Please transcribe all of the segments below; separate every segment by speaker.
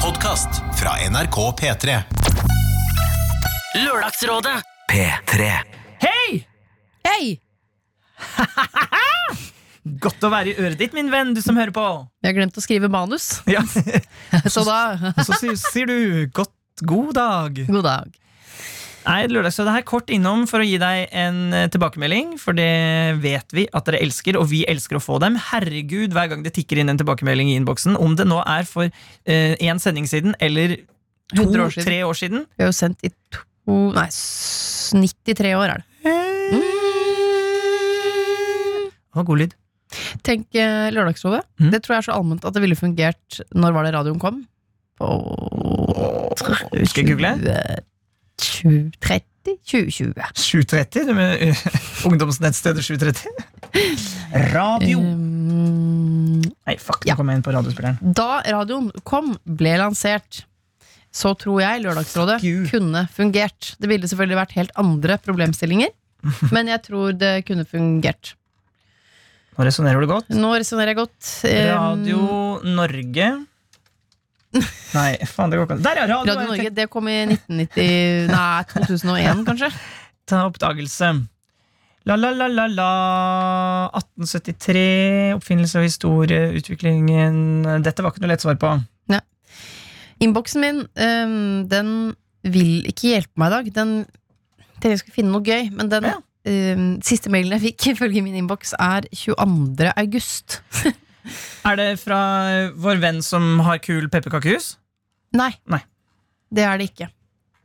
Speaker 1: Podkast fra NRK P3.
Speaker 2: Lørdagsrådet
Speaker 3: P3.
Speaker 4: Hei!
Speaker 5: Hei!
Speaker 4: Godt å være i øret ditt, min venn, du som hører på.
Speaker 5: Vi har glemt å skrive manus,
Speaker 4: Ja.
Speaker 5: så da
Speaker 4: Og så sier, sier du godt god dag.
Speaker 5: god dag.
Speaker 4: Nei, Lørdagsrådet her kort innom for å gi deg en eh, tilbakemelding, for det vet vi at dere elsker, og vi elsker å få dem. Herregud, hver gang det tikker inn en tilbakemelding i innboksen, om det nå er for én sending siden eller
Speaker 5: Hundre år siden.
Speaker 4: to-tre år siden.
Speaker 5: Vi har jo sendt i to Nei, s- 93 år er det.
Speaker 4: Det var Eh, god lyd.
Speaker 5: Tenk eh, Lørdagsrådet.
Speaker 4: Mm.
Speaker 5: Det tror jeg er så allment at det ville fungert når var det radioen kom? På
Speaker 4: Skal jeg google?
Speaker 5: 20, 30? 2020.
Speaker 4: 7.30? Du med eh, ungdomsnettstedet 7.30? Radio.
Speaker 5: Um,
Speaker 4: Nei, fuck,
Speaker 5: Eh, ja.
Speaker 4: nå kom jeg inn på radiospilleren.
Speaker 5: da radioen kom, ble lansert, så tror jeg Lørdagsrådet
Speaker 4: Fuck you.
Speaker 5: kunne fungert. Det ville selvfølgelig vært helt andre problemstillinger, men jeg tror det kunne fungert.
Speaker 4: Nå resonnerer du godt.
Speaker 5: Nå resonnerer jeg godt. Um,
Speaker 4: Radio Norge Nei, faen, det går ikke an. Der, ja! Radio,
Speaker 5: Radio
Speaker 4: er
Speaker 5: Norge, det kom i 1990 Nei, 2001 kanskje?
Speaker 4: tekta oppdagelse. La-la-la-la-la 1873. Oppfinnelse og historieutviklingen. Dette var ikke noe lett svar på.
Speaker 5: Innboksen min, øhm, den vil ikke hjelpe meg i dag. Den tenkte jeg skulle finne noe gøy, men den
Speaker 4: Ja.
Speaker 5: øhm, siste mailen jeg fikk ifølge min innboks, er 22. august.
Speaker 4: Er det fra vår venn som har kul pepperkakehus?
Speaker 5: Nei.
Speaker 4: Nei.
Speaker 5: Det er det ikke.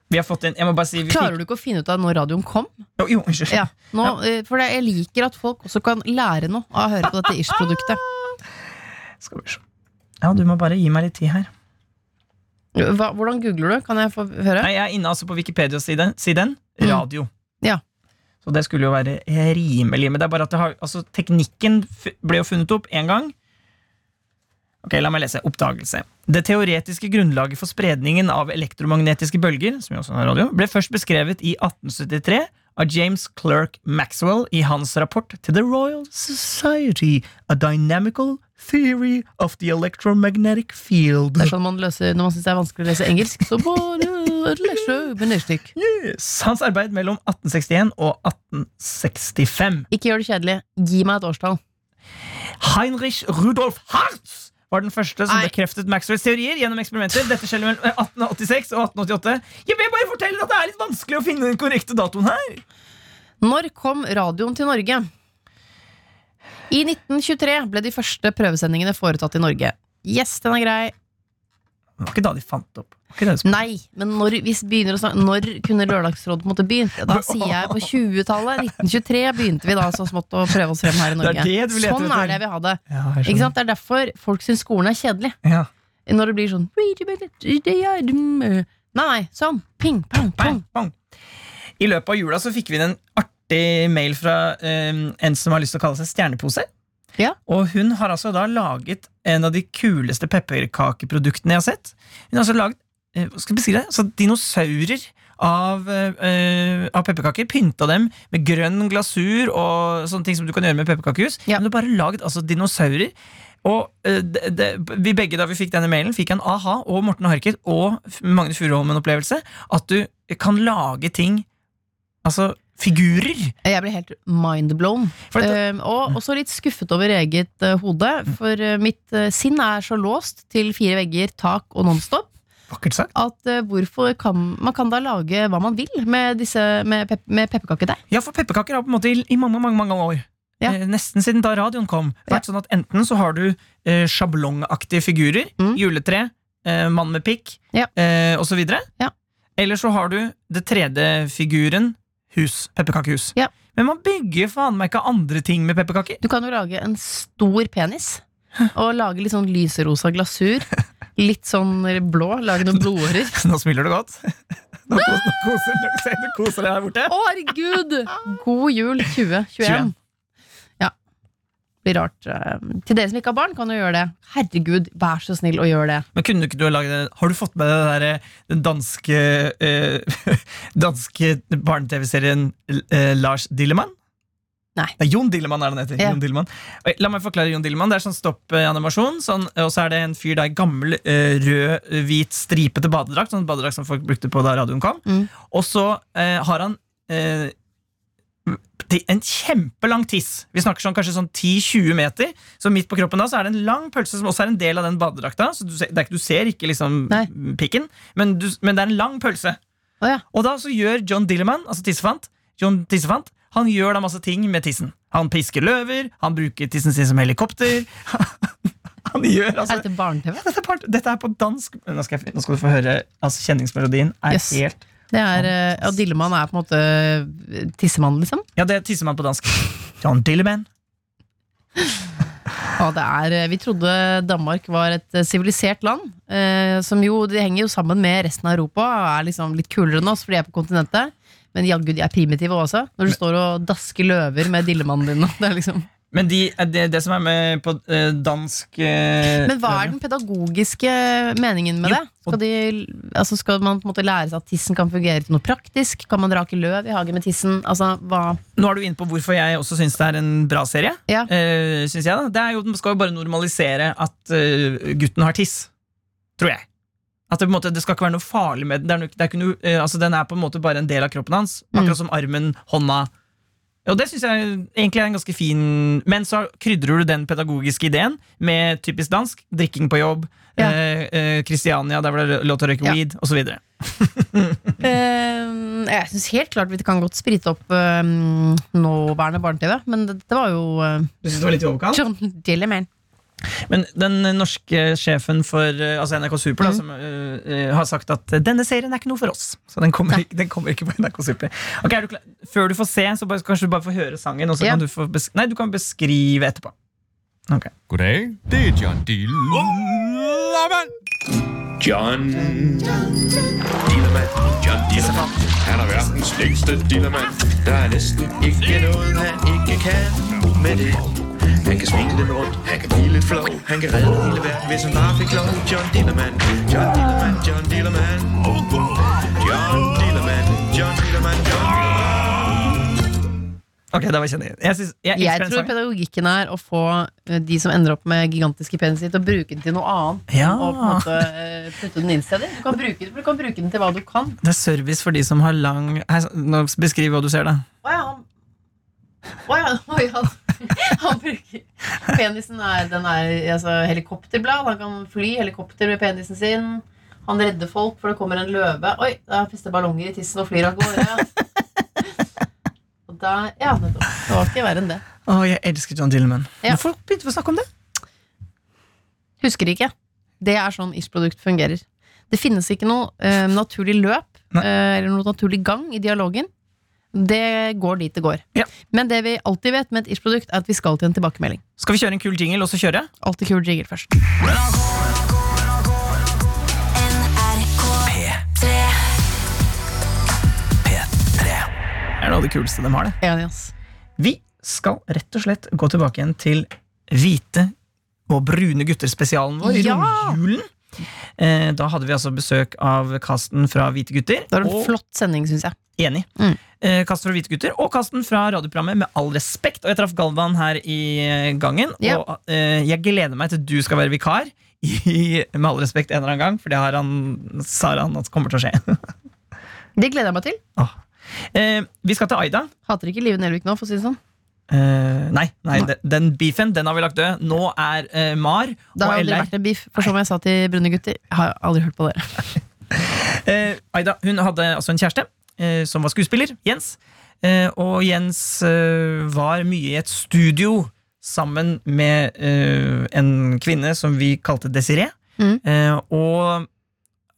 Speaker 4: Vi har fått inn Jeg må bare si vi fikk,
Speaker 5: Klarer du ikke å finne ut av når radioen kom?
Speaker 4: Jo, jo, unnskyld.
Speaker 5: Ja, nå, eh, For jeg liker at folk også kan lære noe av å høre på dette ish-produktet.
Speaker 4: Skal vi se. Ja, du må bare gi meg litt tid her.
Speaker 5: Hva- Hvordan googler du? Kan jeg få høre?
Speaker 4: Nei, Jeg er inne altså på Wikipedia-siden. siden,
Speaker 5: Mm.
Speaker 4: Radio.
Speaker 5: Ja.
Speaker 4: Så det skulle jo være rimelig. Men det er bare at det har, altså, teknikken f ble jo funnet opp én gang. Ok, La meg lese. Oppdagelse. Det teoretiske grunnlaget for spredningen av elektromagnetiske bølger som jo også er radio, ble først beskrevet i 1873 av James Clerk Maxwell i hans rapport til The Royal Society, A Dynamical Theory of the Electromagnetic Field.
Speaker 5: Det er sånn man løser Når man syns det er vanskelig å lese engelsk, så bare leser med nedstykk.
Speaker 4: Yes. Hans arbeid mellom 1861 og 1865.
Speaker 5: Ikke gjør det kjedelig. Gi meg et årstall.
Speaker 4: Heinrich Rudolf Hartz var den første som
Speaker 5: Nei.
Speaker 4: bekreftet Maxwells teorier gjennom eksperimenter. Dette skjedde mellom 1886 og 1888. Jeg vil bare fortelle at det er litt vanskelig å finne den korrekte datoen her.
Speaker 5: Når kom radioen til Norge? I 1923 ble de første prøvesendingene foretatt i Norge. Yes, den er grei.
Speaker 4: Det var ikke da de fant det opp. Det var ikke da de spurte.
Speaker 5: Nei, men når, hvis vi begynner å snakke, når kunne Lørdagsrådet måtte begynt? Da sier jeg på 20-tallet. 1923 begynte vi da så smått å prøve oss frem her i
Speaker 4: Det er
Speaker 5: Norge.
Speaker 4: det du leter
Speaker 5: sånn
Speaker 4: etter.
Speaker 5: er det jeg vil ha det.
Speaker 4: Ja, jeg skjønner.
Speaker 5: Ikke sant? Det er derfor folk syns skolen er kjedelig.
Speaker 4: Ja.
Speaker 5: Når det blir sånn Nei, nei, sånn. Ping, pang, pang.
Speaker 4: Bang, bang. I løpet av jula så fikk vi inn en artig mail fra eh, en som har lyst til å kalle seg Stjernepose.
Speaker 5: Ja.
Speaker 4: Og hun har altså da laget en av de kuleste pepperkakeproduktene jeg har sett. Hun har altså laget eh, hva skal jeg beskrive det? Så dinosaurer av, eh, av pepperkaker. Pynta dem med grønn glasur og sånne ting som du kan gjøre med pepperkakehus.
Speaker 5: Ja.
Speaker 4: Men du har bare laget altså dinosaurer. Og eh, det, det, vi begge da vi fikk denne mailen, fikk en aha og Morten Harket og F- Magne Furuholm en opplevelse. At du kan lage ting Altså figurer.
Speaker 5: Jeg ble helt mindblown.
Speaker 4: For at,
Speaker 5: Eh, og også litt skuffet over eget eh, hode, for eh, mitt eh, sinn er så låst til fire vegger, tak og Nonstop.
Speaker 4: vakkert sagt.
Speaker 5: at eh, hvorfor kan man kan da lage hva man vil med, disse, med, pep, med pepperkakedeig?
Speaker 4: Ja, for pepperkaker har på en måte i, i mange, mange, mange år
Speaker 5: Ja.
Speaker 4: eh, Nesten siden da radioen kom vært sånn at Enten så har du eh, sjablongaktige figurer
Speaker 5: Mm.
Speaker 4: Juletre, eh, mann med pikk
Speaker 5: Ja.
Speaker 4: eh, Og så videre
Speaker 5: Ja.
Speaker 4: Eller så har du det tredje figuren Hus, pepperkakehus
Speaker 5: Ja.
Speaker 4: Men man bygger faen meg ikke andre ting med pepperkaker
Speaker 5: Du kan jo lage en stor penis og lage litt sånn lyserosa glasur. Litt sånn blå. Lage noen blodårer.
Speaker 4: Nå smiler du godt Nå koser, nå koser, nå ser du koser deg her borte
Speaker 5: Å, herregud! God jul 2021.
Speaker 4: 21.
Speaker 5: Ja. Blir rart. eh, Til dere som ikke har barn, kan jo gjøre det. Herregud, vær så snill og gjør det.
Speaker 4: Men kunne ikke du ha laget det? Har du fått med deg den der, eh, den danske, eh, danske barne-TV-serien eh, Lars Dillemann?
Speaker 5: Nei.
Speaker 4: Nei, Jon Dillemann er den heter.
Speaker 5: Ja.
Speaker 4: Jon Dillemann. Oi, La meg forklare Jon Dillemann. Det er sånn stoppanimasjon. Sånn, og så er det en fyr da i gammel, eh, rød, hvit, stripete badedrakt. Sånn badedrakt som folk brukte på da radioen kom.
Speaker 5: Mm.
Speaker 4: Og så eh, har han eh, ti- en kjempelang tiss. Vi snakker sånn kanskje sånn 10-20 meter. Så midt på kroppen da så er det en lang pølse som også er en del av den badedrakta. Så du ser, det er ikke, du ser ikke liksom
Speaker 5: Nei.
Speaker 4: pikken, men, du, men det er en lang pølse.
Speaker 5: Å ja.
Speaker 4: Og da så gjør John Dilleman, altså tissefant, John Tissefant han gjør da masse ting med tissen. Han pisker løver, han bruker tissen sin som helikopter. han gjør altså
Speaker 5: Er dette barne-TV?
Speaker 4: dette er, part, dette er på dansk Nå skal, jeg, nå skal du få høre. Altså, kjenningsmelodien er
Speaker 5: Yes.
Speaker 4: helt
Speaker 5: Det er, eh, og Dillemann er på en måte eh, tissemannen, liksom?
Speaker 4: Ja, det er tissemann på dansk. Sånn, John Dilleman.
Speaker 5: Ja, det er, eh, vi trodde Danmark var et eh, sivilisert land, eh, som jo de henger jo sammen med resten av Europa og er liksom litt kulere enn oss, for de er på kontinentet. Men jaggu, de er primitive også. Når du står og dasker løver med dillemannen din. og Det er liksom.
Speaker 4: Men de, eh, det, det som er med på eh, dansk eh,
Speaker 5: Men hva er den pedagogiske meningen med
Speaker 4: Jo,
Speaker 5: det? Skal, de, altså skal man på en måte lære seg at tissen kan fungere til noe praktisk? Kan man rake løv i hagen med tissen? Altså, hva?
Speaker 4: Nå er du inne på hvorfor jeg også syns det er en bra serie.
Speaker 5: Ja.
Speaker 4: Eh, synes jeg da Det er jo, Den skal jo bare normalisere at eh, gutten har tiss. Tror jeg. At det, på en måte, det skal ikke være noe farlig med den. Det er noe, det er ikke noe, eh, altså, den er på en måte bare en del av kroppen hans.
Speaker 5: Mm.
Speaker 4: Akkurat som armen, hånda. Og det syns jeg egentlig er en ganske fin Men så krydrer du den pedagogiske ideen med typisk dansk. Drikking på jobb,
Speaker 5: Ja.
Speaker 4: eh, eh, Kristiania, der hvor det er lov til å røyke
Speaker 5: Ja.
Speaker 4: weed, osv.
Speaker 5: Eh, jeg syns helt klart vi kan godt sprite opp eh, nåværende barne-TV, men det, det var jo eh,
Speaker 4: Du syns det var litt i overkant?
Speaker 5: John Dillerman.
Speaker 4: Men den norske sjefen for eh, altså NRK Super da,
Speaker 5: Mhm.
Speaker 4: som, eh, eh, har sagt at denne serien er ikke noe for oss. Så den kommer, ikke, den kommer ikke på NRK Super. Ok, er du klar? Før du får se, så bare, kanskje du bare får høre sangen. Og så
Speaker 5: Ja.
Speaker 4: kan du, få besk nei, du kan beskrive etterpå. Ok.
Speaker 2: Goddag, det er John D. Lammen.
Speaker 3: John Dillermand. John Dillermand. Han er verdens længste dillermand. Der er næsten ikke noget, han ikke kan med det. Han kan svinge den rundt, han kan blive lidt flov. Han kan redde hele verden, hvis han bare fik lov. John Dillermand, John Dillermand, John Dillermand. John Dillermand, John Dillermand, John Dillermand.
Speaker 4: Ok, det var kjenning. Jeg, synes, jeg, elsker
Speaker 5: Jeg
Speaker 4: den
Speaker 5: tror
Speaker 4: sangen.
Speaker 5: pedagogikken er å få eh, de som ender opp med gigantiske penis til å bruke den til noe annet.
Speaker 4: Ja.
Speaker 5: Og på en måte eh, putte den inn steder. Du kan, bruke, den- du kan bruke den til hva du kan.
Speaker 4: Det er service for de som har lang Her, nå Beskriv hva du ser, da.
Speaker 5: Å ja, han Å ja, oi, han, han bruker Penisen er, den er altså, helikopterblad. Han kan fly helikopter med penisen sin. Han redder folk, for det kommer en løve. Oi, da fester ballonger i tissen og flyr av gårde. Og da, ja, nettopp. Det var ikke verre enn det.
Speaker 4: Å, jeg elsker John Dillman.
Speaker 5: Ja.
Speaker 4: Folk begynte å snakke om det.
Speaker 5: Husker ikke. Det er sånn ish-produkt fungerer. Det finnes ikke noe eh, naturlig løp
Speaker 4: Nei.
Speaker 5: eh, eller noe naturlig gang i dialogen. Det går dit det går.
Speaker 4: Ja.
Speaker 5: Men det vi alltid vet med et ish-produkt, er at vi skal til en tilbakemelding.
Speaker 4: Skal vi kjøre en kul jingle, og så kjøre?
Speaker 5: Alltid kul jigger først.
Speaker 4: Det er noe av det kuleste de har, det.
Speaker 5: Enig, ass.
Speaker 4: Vi skal rett og slett gå tilbake igjen til hvite og brune gutter-spesialen vår i
Speaker 5: Ja!
Speaker 4: romjulen. Eh, Da hadde vi altså besøk av Karsten fra Hvite gutter.
Speaker 5: Det var en
Speaker 4: og,
Speaker 5: flott sending, syns jeg.
Speaker 4: Enig.
Speaker 5: Mm.
Speaker 4: Eh, Karsten fra Hvite gutter og Karsten fra radioprogrammet Med all respekt. Og jeg traff Galvan her i eh, gangen,
Speaker 5: Ja.
Speaker 4: og eh, jeg gleder meg til du skal være vikar. I, med all respekt en eller annen gang, for det har han, sa han at kommer til å skje.
Speaker 5: Det gleder jeg meg til.
Speaker 4: Ah. Eh, vi skal til Aida.
Speaker 5: Hater ikke Live Nelvik nå, for å si det sånn.
Speaker 4: Eh, nei, nei
Speaker 5: Nei.
Speaker 4: de- den beefen den har vi lagt død. Nå er eh, Mar og
Speaker 5: Det har aldri
Speaker 4: LR
Speaker 5: vært en beef. For som jeg sa til brune gutter, jeg har aldri hørt på dere.
Speaker 4: Eh, Aida hun hadde altså en kjæreste eh, som var skuespiller, Jens. Eh, og Jens eh, var mye i et studio sammen med eh, en kvinne som vi kalte Desiree.
Speaker 5: Mm.
Speaker 4: Eh, og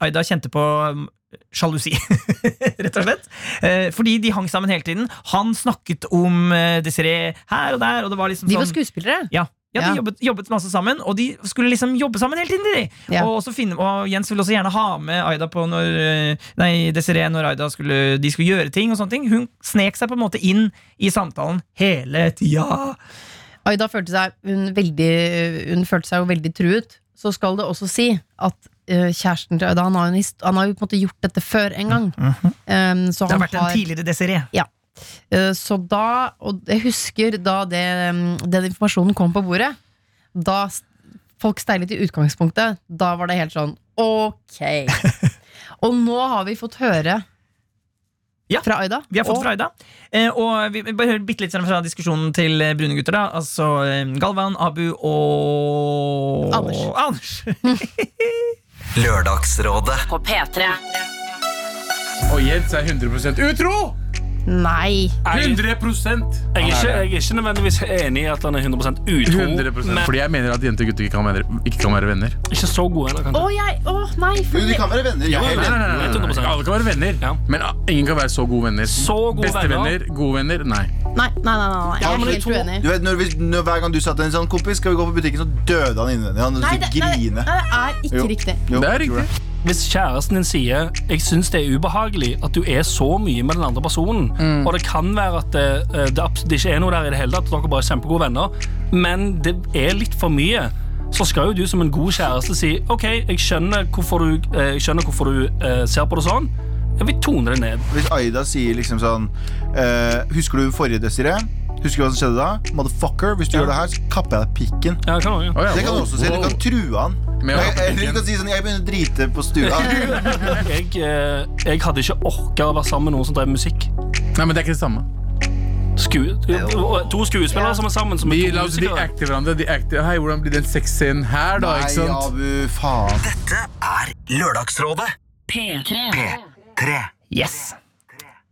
Speaker 4: Aida kjente på mm, sjalusi, rett og slett. Eh, fordi de hang sammen hele tiden. Han snakket om eh, Desiree her og der, og det var liksom
Speaker 5: De var
Speaker 4: sånn
Speaker 5: skuespillere.
Speaker 4: ja, ja de
Speaker 5: Ja.
Speaker 4: Jobbet, jobbet masse sammen, og de skulle liksom jobbe sammen hele tiden. De.
Speaker 5: Ja.
Speaker 4: Og, også finne, og Jens ville også gjerne ha med Aida på når eh, Nei, Desiree når Aida skulle, de skulle gjøre ting. og sånne ting Hun snek seg på en måte inn i samtalen hele tida.
Speaker 5: Aida følte seg, hun, veldig, hun følte seg jo veldig truet. Så skal det også si at eh, kjæresten til Aida Han har, jo en hist- han har jo på en måte gjort dette før en gang. Um, så
Speaker 4: Mhm. Det har
Speaker 5: han
Speaker 4: vært en tidligere Desiree.
Speaker 5: Ja. Eh, Så da Og jeg husker da det, mm, den informasjonen kom på bordet. Da s- folk steilet i utgangspunktet, da var det helt sånn ok. Og nå har vi fått høre
Speaker 4: Ja,
Speaker 5: fra Aida.
Speaker 4: Vi har fått
Speaker 5: og,
Speaker 4: fra Aida. Eh, og vi vi bare hører bitte litt fra diskusjonen til eh, brune gutter. da Altså eh, Galvan, Abu og
Speaker 5: Anders.
Speaker 4: Anders.
Speaker 6: Lørdagsrådet.
Speaker 7: På P3.
Speaker 8: Og Jens er 100 utro!
Speaker 5: Nei.
Speaker 8: 100
Speaker 9: Jeg er,
Speaker 8: Han
Speaker 9: ikke,
Speaker 8: er det.
Speaker 9: jeg er ikke nødvendigvis enig i at han er 100 utro,
Speaker 8: 100%
Speaker 9: men
Speaker 8: Fordi jeg mener at jenter og gutter ikke kan være, ikke kan være venner.
Speaker 9: ikke så god heller,
Speaker 5: Å,
Speaker 9: kanskje.
Speaker 5: jeg Å, nei.
Speaker 10: Men
Speaker 5: fordi-
Speaker 10: vi kan være venner. Jeg er
Speaker 8: Nei,
Speaker 10: helt
Speaker 8: nei, nei, nei,
Speaker 9: 100%.
Speaker 8: nei. Alle kan være venner,
Speaker 9: Ja.
Speaker 8: men ah, ingen kan være så gode venner.
Speaker 9: Så gode
Speaker 8: Bestevenner, gode venner, nei.
Speaker 5: Nei, nei, nei, nei, nei.
Speaker 9: Ja,
Speaker 5: Jeg
Speaker 9: men
Speaker 5: er
Speaker 9: de
Speaker 5: helt
Speaker 9: to-
Speaker 5: uenig.
Speaker 10: du vet, når vi, når, Hver gang du sa til en sånn kompis skal vi gå på butikken, så døde han innvendig. Han
Speaker 5: Nei, det, nei,
Speaker 10: begynte å
Speaker 5: det-
Speaker 10: grine.
Speaker 5: nei, det er
Speaker 10: Jo.
Speaker 5: ikke riktig.
Speaker 10: Jo,
Speaker 8: Det er
Speaker 10: jeg tror
Speaker 8: riktig.
Speaker 9: Hvis kjæresten din sier Jeg synes det er ubehagelig at du er så mye med den andre personen, og det kan være at det, eh, det, abs- det ikke er noe der i det hele tatt, at dere bare er kjempegode venner, men det er litt for mye, så skal jo du som en god kjæreste si OK, jeg skjønner hvorfor du, eh, jeg skjønner hvorfor du eh, ser på det sånn. Jeg vil tone det ned.
Speaker 10: Hvis Aida sier liksom sånn eh, Husker du forrige desire? Husker du hva som skjedde da? Motherfucker, hvis du gjør det her, så kapper jeg deg pikken.
Speaker 9: Ja, kan du, ja.
Speaker 8: Å, ja,
Speaker 10: Det kan du
Speaker 8: wow,
Speaker 10: også si. Du
Speaker 8: wow.
Speaker 10: kan true han.
Speaker 8: Med å
Speaker 10: Eller-
Speaker 8: kappe
Speaker 10: Eller du
Speaker 8: pikken.
Speaker 10: kan si sånn Jeg begynner å drite på stua.
Speaker 9: jeg, eh, jeg hadde ikke orka å være sammen med noen som drev musikk.
Speaker 8: Nei, men det er ikke det samme.
Speaker 9: Sku, to skuespillere som er sammen, som
Speaker 8: De,
Speaker 9: er
Speaker 8: la
Speaker 9: to
Speaker 8: oss de
Speaker 9: musikere.
Speaker 8: acte hverandre. De acte, Hei, hvordan blir den sexscenen her, da? ikke
Speaker 10: Nei,
Speaker 8: sant?
Speaker 10: Abu, faen.
Speaker 6: Dette er Lørdagsrådet. P3.
Speaker 4: Yes!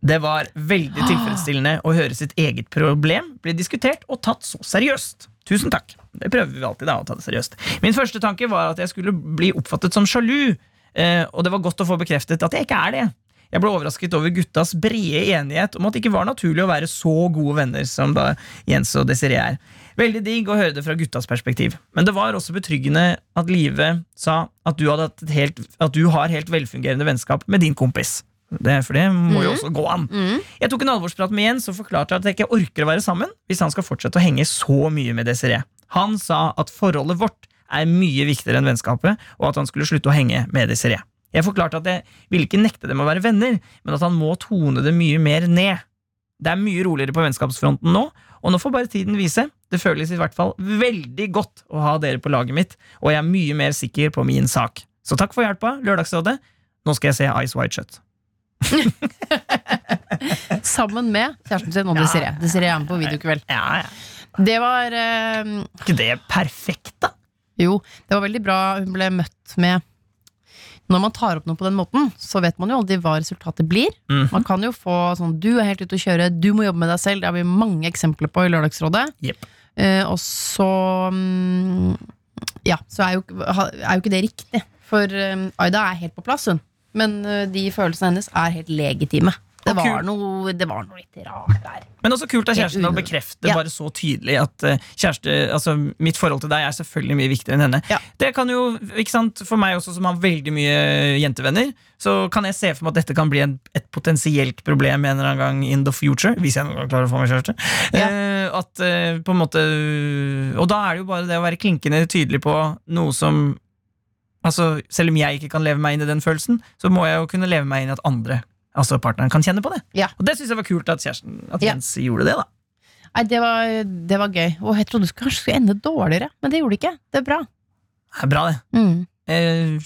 Speaker 4: Det var veldig tilfredsstillende å høre sitt eget problem bli diskutert og tatt så seriøst. Tusen takk. Det prøver vi alltid da, å ta det seriøst. Min første tanke var at jeg skulle bli oppfattet som sjalu, eh, og det var godt å få bekreftet at jeg ikke er det. Jeg ble overrasket over guttas brede enighet om at det ikke var naturlig å være så gode venner som da Jens og Desiree er. Veldig digg å høre det fra guttas perspektiv. Men det var også betryggende at Live sa at du, hadde hatt et helt, at du har helt velfungerende vennskap med din kompis. Det, for det må jo også gå an. Jeg tok en alvorsprat med Jens og forklarte at jeg ikke orker å være sammen hvis han skal fortsette å henge så mye med Desiree. Han sa at forholdet vårt er mye viktigere enn vennskapet, og at han skulle slutte å henge med Desiree. Jeg forklarte at jeg ville ikke nekte dem å være venner, men at han må tone det mye mer ned. Det er mye roligere på vennskapsfronten nå, og nå får bare tiden vise. Det føles i hvert fall veldig godt å ha dere på laget mitt, og jeg er mye mer sikker på min sak. Så takk for hjelpa, Lørdagsrådet. Nå skal jeg se Ice White Shut.
Speaker 5: Sammen med kjæresten sin og
Speaker 4: Ja.
Speaker 5: Desiree. Desiree er med på videokveld.
Speaker 4: Ja, ja.
Speaker 5: Det var eh,
Speaker 4: ikke det perfekt, da?
Speaker 5: Jo, det var veldig bra hun ble møtt med Når man tar opp noe på den måten, så vet man jo aldri hva resultatet blir.
Speaker 4: Mhm.
Speaker 5: Man kan jo få sånn 'du er helt ute å kjøre', 'du må jobbe med deg selv'. Det har vi mange eksempler på i Lørdagsrådet.
Speaker 4: Jepp.
Speaker 5: Eh, og så mm, Ja, så er jo, ha- er jo ikke det riktig. For eh, Aida er helt på plass, hun. Men eh, de følelsene hennes er helt legitime. Det
Speaker 4: Og kul.
Speaker 5: var, noe, det var noe litt rart der.
Speaker 4: Men også kult av kjæresten å
Speaker 5: Helt unødvendig.
Speaker 4: bekrefte
Speaker 5: Ja.
Speaker 4: bare så tydelig at eh, kjæreste, altså mitt forhold til deg er selvfølgelig mye viktigere enn henne.
Speaker 5: Ja.
Speaker 4: Det kan jo, ikke sant, For meg også, som har veldig mye eh, jentevenner, så kan jeg se for meg at dette kan bli en, et potensielt problem en eller annen gang in the future. Hvis jeg noen gang klarer å få meg kjæreste.
Speaker 5: Ja.
Speaker 4: Eh, at eh, på en måte Og da er det jo bare det å være klinkende tydelig på noe som Altså, Selv om jeg ikke kan leve meg inn i den følelsen, så må jeg jo kunne leve meg inn i at andre, altså partneren, kan kjenne på det.
Speaker 5: Ja.
Speaker 4: Og det syns jeg var kult at kjæresten, at
Speaker 5: Ja.
Speaker 4: Jens gjorde det. da
Speaker 5: Nei, det var, det var gøy. Og jeg trodde det skulle- kanskje skulle ende dårligere, men det gjorde det ikke. Det er bra.
Speaker 4: Det er bra, det.
Speaker 5: Mm.
Speaker 4: Eh,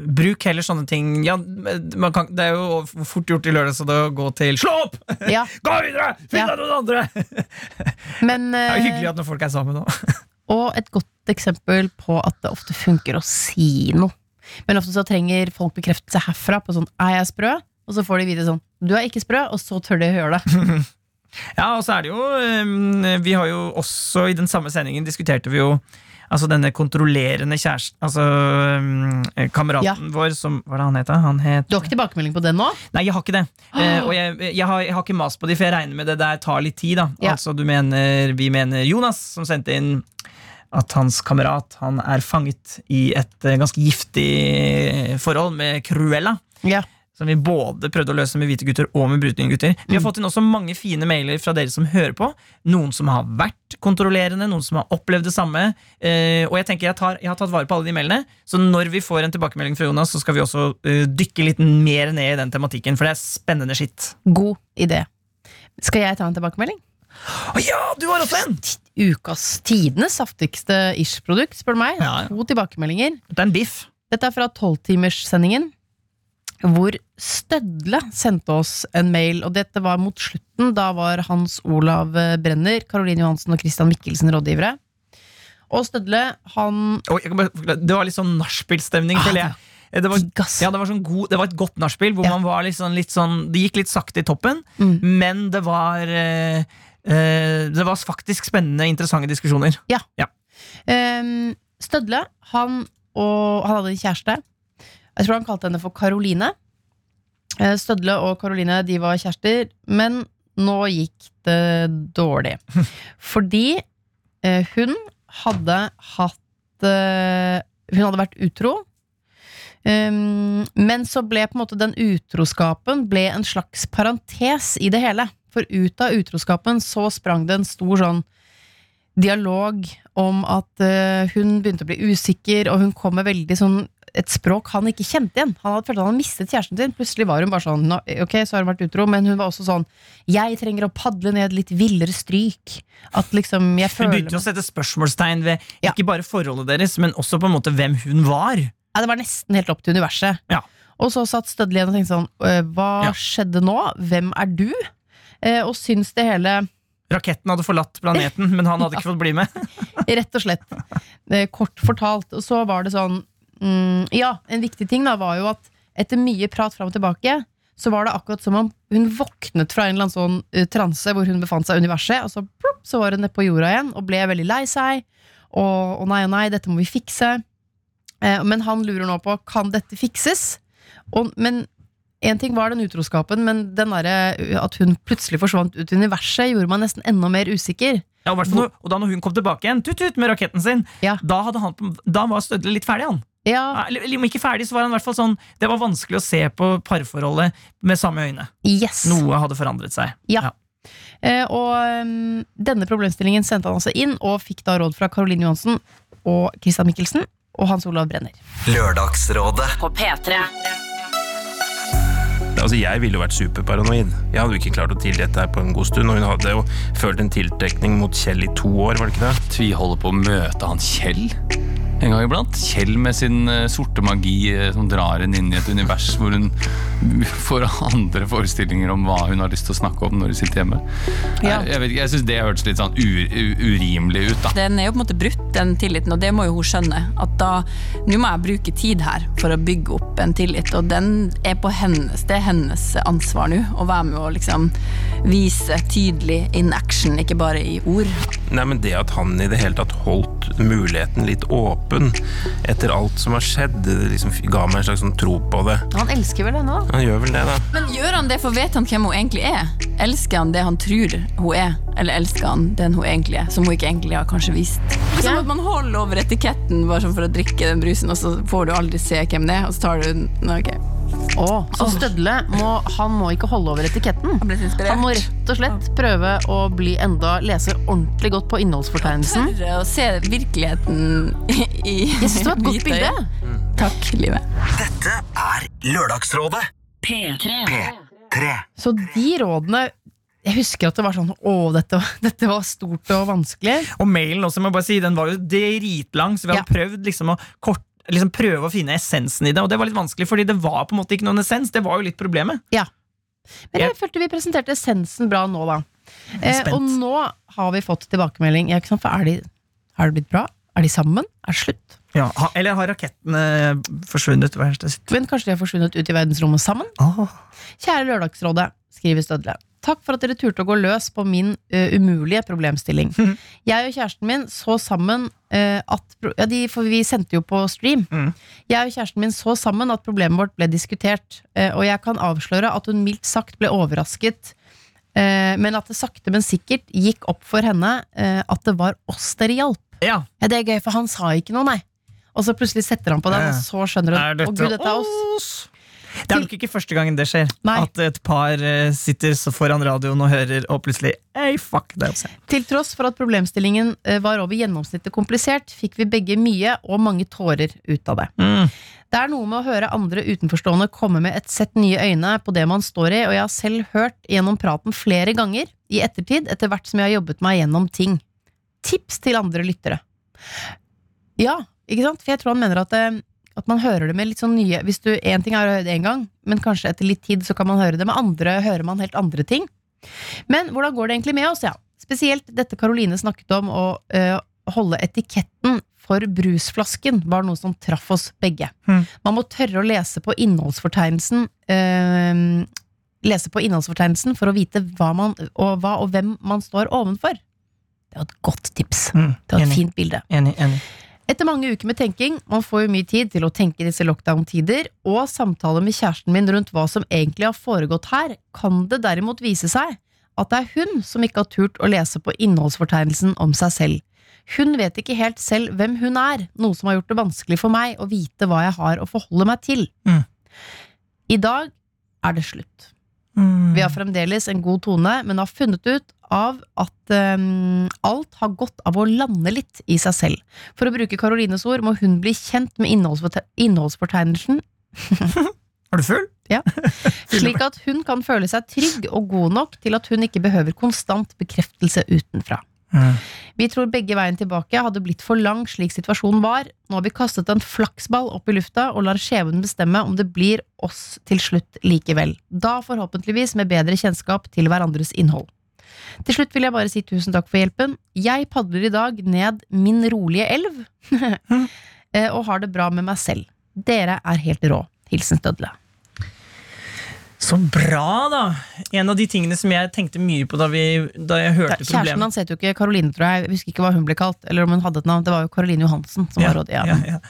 Speaker 4: bruk heller sånne ting ja, man kan, Det er jo fort gjort i lørdag, så det å gå til Slå opp!
Speaker 5: Ja,
Speaker 4: Gå videre! Finn
Speaker 5: Ja.
Speaker 4: deg noen andre! Det
Speaker 5: men,
Speaker 4: er jo
Speaker 5: eh,
Speaker 4: hyggelig at når folk er sammen òg.
Speaker 5: og et godt eksempel på at det ofte funker å si noe. Men ofte så trenger folk bekreftelse herfra på sånn 'er jeg sprø?' Og så får de vite sånn 'du er ikke sprø', og så tør de å gjøre det.
Speaker 4: Ja, og så er det jo eh, Vi har jo også i den samme sendingen diskuterte vi jo Altså denne kontrollerende kjæresten Altså eh, kameraten
Speaker 5: Ja.
Speaker 4: vår som Hva er det han het? da? Han het
Speaker 5: Du har ikke tilbakemelding på det nå?
Speaker 4: Nei, jeg har ikke det. Eh, og jeg, jeg, har, jeg har ikke mas på de, for jeg regner med det der tar litt tid. da
Speaker 5: Ja.
Speaker 4: Altså du mener, Vi mener Jonas, som sendte inn at hans kamerat han er fanget i et eh, ganske giftig forhold med Cruella.
Speaker 5: Ja.
Speaker 4: Som vi både prøvde å løse med hvite gutter og med brune gutter. Vi har fått inn også mange fine mailer fra dere som hører på. Noen som har vært kontrollerende, noen som har opplevd det samme. Eh, og jeg tenker jeg, tar, jeg har tatt vare på alle de mailene, så når vi får en tilbakemelding fra Jonas, så skal vi også eh, dykke litt mer ned i den tematikken, for det er spennende skitt.
Speaker 5: God idé. Skal jeg ta en tilbakemelding?
Speaker 4: Å ja, du har også en!
Speaker 5: Ukas tidenes saftigste ish-produkt, spør du meg.
Speaker 4: Ja, ja.
Speaker 5: To tilbakemeldinger.
Speaker 4: Det er en biff.
Speaker 5: Dette er fra 12-timerssendingen, hvor Stødle sendte oss en mail, og dette var mot slutten. Da var Hans Olav Brenner, Karoline Johansen og Christian Mikkelsen rådgivere. Og Stødle, han
Speaker 4: Oi, jeg kan bare forklare. det var litt sånn nachspiel-stemning,
Speaker 5: Ah,
Speaker 4: føler jeg. Det var,
Speaker 5: digg, ass.
Speaker 4: ja, det, var sånn god, det var et godt nachspiel, hvor
Speaker 5: Ja.
Speaker 4: man var litt sånn, litt sånn Det gikk litt sakte i toppen,
Speaker 5: Mm.
Speaker 4: men det var eh, eh, Det var faktisk spennende, interessante diskusjoner.
Speaker 5: Ehm, Stødle, han, og, han hadde en kjæreste. Jeg tror han kalte henne for Karoline. Eh, Stødle og Karoline de var kjærester, men nå gikk det dårlig. Fordi eh, hun hadde hatt eh, Hun hadde vært utro. Ehm, men så ble på en måte den utroskapen ble en slags parentes i det hele. For ut av utroskapen så sprang det en stor sånn dialog om at eh, hun begynte å bli usikker, og hun kom med veldig sånn et språk han ikke kjente igjen. Han hadde følt at han hadde mistet kjæresten sin. Plutselig var hun bare sånn "Nå, Ok, så har hun vært utro, men hun var også sånn Jeg trenger å padle ned litt villere stryk. At liksom jeg
Speaker 4: Hun
Speaker 5: føler
Speaker 4: begynte å sette spørsmålstegn ved
Speaker 5: Ja.
Speaker 4: ikke bare forholdet deres, men også på en måte hvem hun var.
Speaker 5: Ja, det var nesten helt opp til universet.
Speaker 4: Ja.
Speaker 5: Og så satt Studley igjen og tenkte sånn «Øh, Hva
Speaker 4: Ja.
Speaker 5: skjedde nå? Hvem er du? Eh, og syns det hele
Speaker 4: Raketten hadde forlatt planeten, men han hadde ikke fått bli med.
Speaker 5: Rett og slett. Eh, Kort fortalt. Og så var det sånn mm, Ja, en viktig ting da var jo at etter mye prat fram og tilbake, så var det akkurat som om hun våknet fra en eller annen sånn eh, transe hvor hun befant seg i universet, og så plopp, så var hun nedpå jorda igjen og ble veldig lei seg. Og, og nei og nei, dette må vi fikse. Eh, men han lurer nå på kan dette fikses. Og, men en ting var den utroskapen, men den derre, eh, at hun plutselig forsvant ut i universet, gjorde meg nesten enda mer usikker.
Speaker 4: Ja, og, hvertfall når, og da når hun kom tilbake igjen, tut-tut med raketten sin,
Speaker 5: Ja.
Speaker 4: da, hadde han, på- da var Stødle litt ferdig, han.
Speaker 5: Ja,
Speaker 4: Eller, eller om ikke ferdig, så var han i hvert fall sånn Det var vanskelig å se på parforholdet med samme øyne.
Speaker 5: yes.
Speaker 4: Noe hadde forandret seg.
Speaker 5: Ja.
Speaker 4: Ja.
Speaker 5: Eh, og ehm, denne problemstillingen sendte han altså inn, og fikk da råd fra Caroline Johansen og Christian Mikkelsen og Hans Olav Brenner.
Speaker 6: Lørdagsrådet.
Speaker 7: På P3.
Speaker 11: Altså, jeg ville jo vært superparanoid. Jeg hadde jo ikke klart å tilgi dette her på en god stund, og hun hadde jo følt en tiltrekning mot Kjell i to år, var det ikke det?
Speaker 2: Tviholder på å møte han Kjell en gang iblant. Kjell med sin eh, sorte magi eh, som drar henne inn i et univers hvor hun får andre forestillinger om hva hun har lyst til å snakke om når hun sitter hjemme.
Speaker 5: Ja.
Speaker 2: Nei, Jeg, vet ikke, jeg syns det hørtes litt sånn u, u, urimelig ut, da.
Speaker 7: Den er jo på en måte brutt, den tilliten, og det må jo hun skjønne. At da, nå må jeg bruke tid her for å bygge opp en tillit, og den er på hennes, det er hennes ansvar nå. Å være med og liksom vise tydelig in action, ikke bare i ord.
Speaker 11: Nei, men det at han i det hele tatt holdt muligheten litt åpen etter alt som har skjedd, det liksom ga meg en slags sånn tro på det.
Speaker 5: Han elsker vel henne, da?
Speaker 11: Han gjør vel det, da.
Speaker 7: Men gjør han det, for vet han hvem hun egentlig er? Elsker han det han tror hun er? Eller elsker han den hun egentlig er, som hun ikke egentlig har kanskje vist? Det er som at man holder over etiketten bare sånn for å drikke den brusen, og så får du aldri se hvem det er, og så tar du den Nå, ok.
Speaker 5: Å, så Stødle må, han må ikke holde over etiketten.
Speaker 7: Jeg ble litt inspirert.
Speaker 5: Han må rett og slett prøve å bli enda lese ordentlig godt på innholdsfortegnelsen.
Speaker 7: Tørre å se virkeligheten i, i
Speaker 5: Jeg synes det var et godt
Speaker 7: hvite øyne.
Speaker 5: bilde.
Speaker 7: Takk, livet.
Speaker 6: Dette er Lørdagsrådet. P3.
Speaker 5: Så de rådene Jeg husker at det var sånn Å, dette, var- dette var stort og vanskelig.
Speaker 4: Og mailen også, må jeg bare si, den var jo dritlang, så vi hadde prøvd liksom å kort Liksom prøve å finne essensen i det, og det var litt vanskelig, fordi det var på en måte ikke noen essens. Det var jo litt problemet.
Speaker 5: Men jeg følte vi presenterte essensen bra nå, da. Eh,
Speaker 4: spent.
Speaker 5: og nå har vi fått tilbakemelding. Ja, ikke sant? For er, de, er det blitt bra? Er de sammen? Er det slutt?
Speaker 4: Ja, ha, eller har rakettene forsvunnet? Hva er det?
Speaker 5: Men kanskje de har forsvunnet ut i verdensrommet sammen?
Speaker 4: Åh.
Speaker 5: Kjære Lørdagsrådet, skriver Stødle. Takk for at dere turte å gå løs på min ø, umulige problemstilling.
Speaker 4: Mhm.
Speaker 5: Jeg og kjæresten min så sammen ø, at pro- Ja, de, for vi sendte jo på stream.
Speaker 4: Mhm.
Speaker 5: Jeg og kjæresten min så sammen at problemet vårt ble diskutert, ø, og jeg kan avsløre at hun mildt sagt ble overrasket. ø, Men at det sakte, men sikkert gikk opp for henne ø, at det var oss dere hjalp.
Speaker 4: Ja.
Speaker 5: Ja, det er gøy, for han sa ikke noe, nei. Og så plutselig setter han på den,
Speaker 4: Ja.
Speaker 5: og så skjønner hun. Å, gud, dette er oss.
Speaker 4: Det er nok ikke første gangen det skjer.
Speaker 5: Nei.
Speaker 4: At et par eh, sitter så foran radioen og hører, og plutselig Ei, fuck, det er oss.
Speaker 5: Til tross for at problemstillingen eh, var over gjennomsnittet komplisert, fikk vi begge mye og mange tårer ut av det.
Speaker 4: Mm.
Speaker 5: Det er noe med å høre andre utenforstående komme med et sett nye øyne på det man står i, og jeg har selv hørt gjennom praten flere ganger i ettertid, etter hvert som jeg har jobbet meg gjennom ting. Tips til andre lyttere. Ja, ikke sant? For jeg tror han mener at, eh, at man hører det med litt sånn nye Hvis du, En ting er å høre det én gang, men kanskje etter litt tid så kan man høre det med andre. Hører man helt andre ting. Men hvordan går det egentlig med oss? ja? Spesielt dette Karoline snakket om, å eh, holde etiketten for brusflasken, var noe som traff oss begge. Man må tørre å lese på innholdsfortegnelsen eh, Lese på innholdsfortegnelsen for å vite hva, man, og, hva og hvem man står ovenfor. Det var et godt tips. Det
Speaker 4: Mm.
Speaker 5: var et fint bilde.
Speaker 4: Enig, enig.
Speaker 5: Etter mange uker med tenking, man får jo mye tid til å tenke i disse lockdown-tider, og samtaler med kjæresten min rundt hva som egentlig har foregått her, kan det derimot vise seg at det er hun som ikke har turt å lese på innholdsfortegnelsen om seg selv. Hun vet ikke helt selv hvem hun er, noe som har gjort det vanskelig for meg å vite hva jeg har å forholde meg til.
Speaker 4: Mm.
Speaker 5: I dag er det slutt. Vi har fremdeles en god tone, men har funnet ut av at eh, alt har gått av å lande litt i seg selv. For å bruke Karolines ord må hun bli kjent med innholdsforte- innholdsfortegnelsen.
Speaker 4: Er du full?
Speaker 5: Ja. Slik at hun kan føle seg trygg og god nok til at hun ikke behøver konstant bekreftelse utenfra. Vi tror begge veien tilbake hadde blitt for lang slik situasjonen var. Nå har vi kastet en flaksball opp i lufta og lar skjebnen bestemme om det blir oss til slutt likevel. Da forhåpentligvis med bedre kjennskap til hverandres innhold. Til slutt vil jeg bare si tusen takk for hjelpen. Jeg padler i dag ned min rolige elv eh, og har det bra med meg selv. Dere er helt rå. Hilsen Stødle.
Speaker 4: Så bra, da! En av de tingene som jeg tenkte mye på da, vi, da jeg hørte
Speaker 5: Kjæresten
Speaker 4: problemet.
Speaker 5: hans het jo ikke Karoline, tror jeg. Jeg husker ikke hva hun ble kalt. Eller om hun hadde et navn. Det var jo Karoline Johansen som var råd. Ja.
Speaker 4: ja, ja.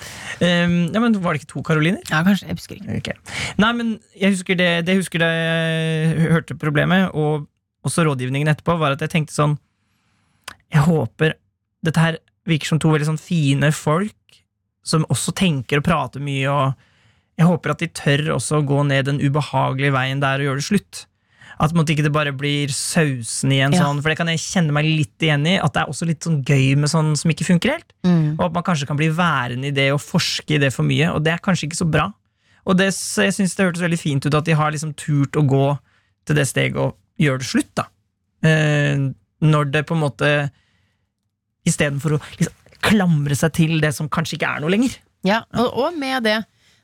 Speaker 4: Ehm, ja, men Var det ikke to Karoliner?
Speaker 5: Ja, kanskje. Jeg husker ikke.
Speaker 4: Nei, men jeg husker det, det jeg husker da jeg hørte problemet, og også rådgivningen etterpå, var at jeg tenkte sånn Jeg håper Dette her virker som to veldig sånn fine folk som også tenker og prater mye, og jeg håper at de tør også å gå ned den ubehagelige veien der og gjøre det slutt. At på en måte ikke det bare blir sausen igjen,
Speaker 5: Ja.
Speaker 4: sånn, for det kan jeg kjenne meg litt igjen i. At det er også litt sånn gøy med sånn som ikke funker helt.
Speaker 5: Mm.
Speaker 4: Og at man kanskje kan bli værende i det og forske i det for mye, og det er kanskje ikke så bra. Og det, så jeg synes det hørtes veldig fint ut at de har liksom turt å gå til det steget og gjøre det slutt, da. Eh, når det på en måte Istedenfor å liksom klamre seg til det som kanskje ikke er noe lenger.
Speaker 5: Ja, og, og med det.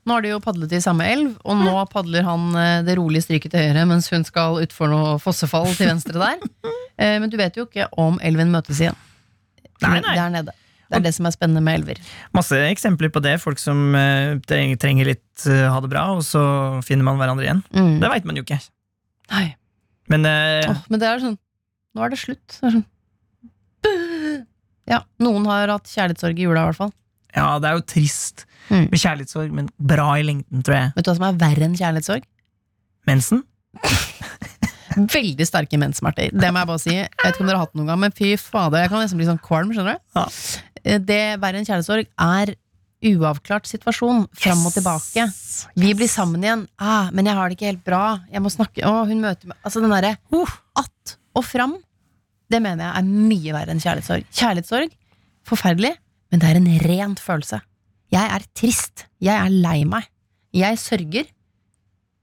Speaker 5: Nå har de jo padlet i samme elv, og nå padler han eh, det rolige stryket til høyre, mens hun skal utfor noe fossefall til venstre der. Eh, Men du vet jo ikke om elven møtes igjen.
Speaker 4: Nei, nei.
Speaker 5: Der nede. Det er det som er spennende med elver.
Speaker 4: Masse eksempler på det. Folk som eh, treng- trenger litt eh, ha det bra, og så finner man hverandre igjen.
Speaker 5: Mm.
Speaker 4: Det veit man jo ikke.
Speaker 5: Nei.
Speaker 4: Men eh,
Speaker 5: Åh, men det er sånn Nå er det slutt. Det er sånn. Ja, noen har hatt kjærlighetssorg i jula, i hvert fall.
Speaker 4: ja, det er jo trist
Speaker 5: Mm.
Speaker 4: med kjærlighetssorg, men bra i lengden, tror jeg.
Speaker 5: Vet du hva som er verre enn kjærlighetssorg?
Speaker 4: Mensen?
Speaker 5: Veldig sterke menssmerter. Det må jeg bare si. Jeg vet ikke om dere har hatt det noen gang, men fy fader, jeg kan nesten bli sånn kvalm. skjønner du? Eh, Det verre enn kjærlighetssorg er uavklart situasjon fram og tilbake. Vi blir sammen igjen, ah, men jeg har det ikke helt bra. Jeg må snakke Å, hun møter meg Altså den derre att og fram, det mener jeg er mye verre enn kjærlighetssorg. Kjærlighetssorg, forferdelig, men det er en rent følelse. Jeg er trist. Jeg er lei meg. Jeg sørger.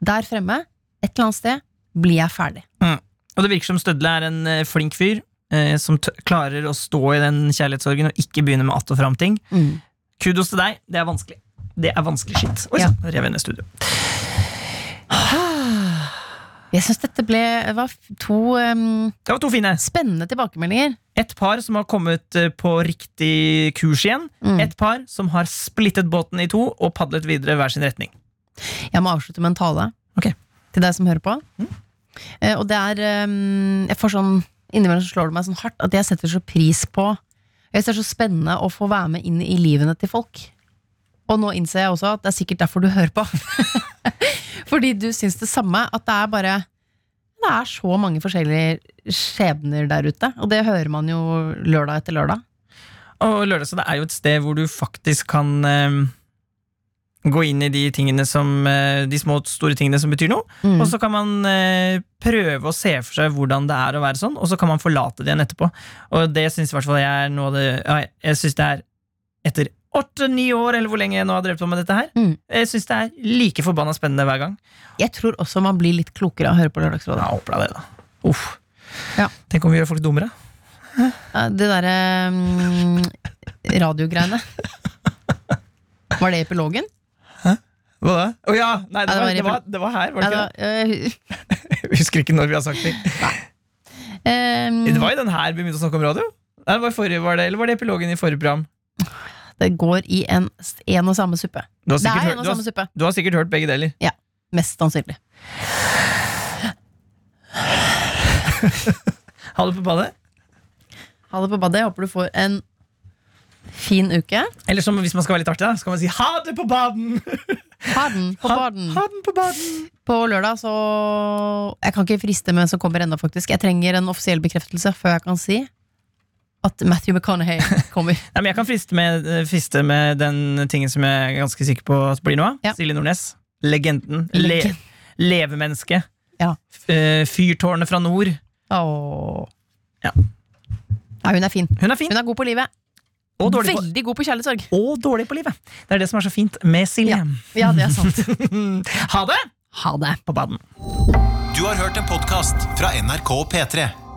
Speaker 5: Der fremme, et eller annet sted, blir jeg ferdig.
Speaker 4: Mm. Og det virker som Stødle er en eh, flink fyr eh, som t klarer å stå i den kjærlighetssorgen og ikke begynne med att og fram-ting. Kudos til deg. Det er vanskelig. Det er vanskelig skitt. Oi sann, rev jeg ned studio.
Speaker 5: Jeg syns dette ble, var f- to, em,
Speaker 4: Det var to fine.
Speaker 5: spennende tilbakemeldinger.
Speaker 4: Et par som har kommet eh, på riktig kurs igjen. Et par som har splittet båten i to og padlet videre hver sin retning.
Speaker 5: Jeg må avslutte med en tale til deg som hører på. Eh, og det er em, jeg får sånn, Innimellom så slår det meg sånn hardt at jeg setter så pris på Jeg synes det er så spennende å få være med inn i livene til folk. Og nå innser jeg også at det er sikkert derfor du hører på. Fordi du syns det samme. At det er bare Det er så mange forskjellige skjebner der ute. Og det hører man jo lørdag etter lørdag.
Speaker 4: Og Lørdagsrådet er jo et sted hvor du faktisk kan eh, gå inn i de tingene som eh, De små, store tingene som betyr noe.
Speaker 5: Mm.
Speaker 4: Og så kan man eh, prøve å se for seg hvordan det er å være sånn, og så kan man forlate det igjen etterpå. Og det syns i hvert fall jeg er noe av det ja, Jeg synes det er etter åtte-ni år, eller hvor lenge jeg nå har drevet på med dette her.
Speaker 5: Mm.
Speaker 4: Jeg syns det er like forbanna spennende hver gang.
Speaker 5: Jeg tror også man blir litt klokere av å høre på Lørdagsrådet.
Speaker 4: Ja, håper jeg det, da. Uff. Tenk om vi gjør folk dummere.
Speaker 5: Ja, Eh, Det derre mm, radiogreiene. Var det epilogen?
Speaker 4: Hva da? Å ja! Nei, det,
Speaker 5: Ja,
Speaker 4: var, det, var,
Speaker 5: epil-
Speaker 4: det var her, var det
Speaker 5: Ja, eh,
Speaker 4: ikke det? Jeg husker ikke når vi har sagt ting.
Speaker 5: Ehm,
Speaker 4: Det var i den her vi begynte å snakke om radio. Nei, det var, i forrige, var det, eller var det epilogen i forrige program?
Speaker 5: det går i en, s- en og samme suppe.
Speaker 4: Du har
Speaker 5: det
Speaker 4: sikkert
Speaker 5: er
Speaker 4: hørt-
Speaker 5: en og
Speaker 4: du har-
Speaker 5: samme suppe.
Speaker 4: Du har sikkert hørt begge deler.
Speaker 5: Ja, Mest sannsynlig.
Speaker 4: Ha det på badet.
Speaker 5: Ha det på badet. Jeg håper du får en fin uke.
Speaker 4: Eller som, hvis man skal være litt artig, da, så kan man si ha det på baden!
Speaker 5: Ha den på baden.
Speaker 4: Ha den på baden.
Speaker 5: På lørdag så Jeg kan ikke friste med en som kommer ennå, faktisk. Jeg trenger en offisiell bekreftelse før jeg kan si at Matthew McConaughey kommer.
Speaker 4: Nei, men jeg kan friste med, eh, friste med den tingen som jeg er ganske sikker på at blir noe av. Silje Nordnes. Legenden. Le
Speaker 5: Legend.
Speaker 4: Levemennesket.
Speaker 5: Ja.
Speaker 4: F- eh, Fyrtårnet fra nord.
Speaker 5: Åh.
Speaker 4: Ja.
Speaker 5: Nei, hun er fin.
Speaker 4: Hun er fin.
Speaker 5: Hun er god på livet.
Speaker 4: Og dårlig på,
Speaker 5: Veldig god på kjærlighetssorg.
Speaker 4: og dårlig på livet. Det er det som er så fint med Silje.
Speaker 5: Ja, det er sant.
Speaker 4: ha det!
Speaker 5: Ha det.
Speaker 4: På baden.
Speaker 1: Du har hørt en podkast fra NRK P3.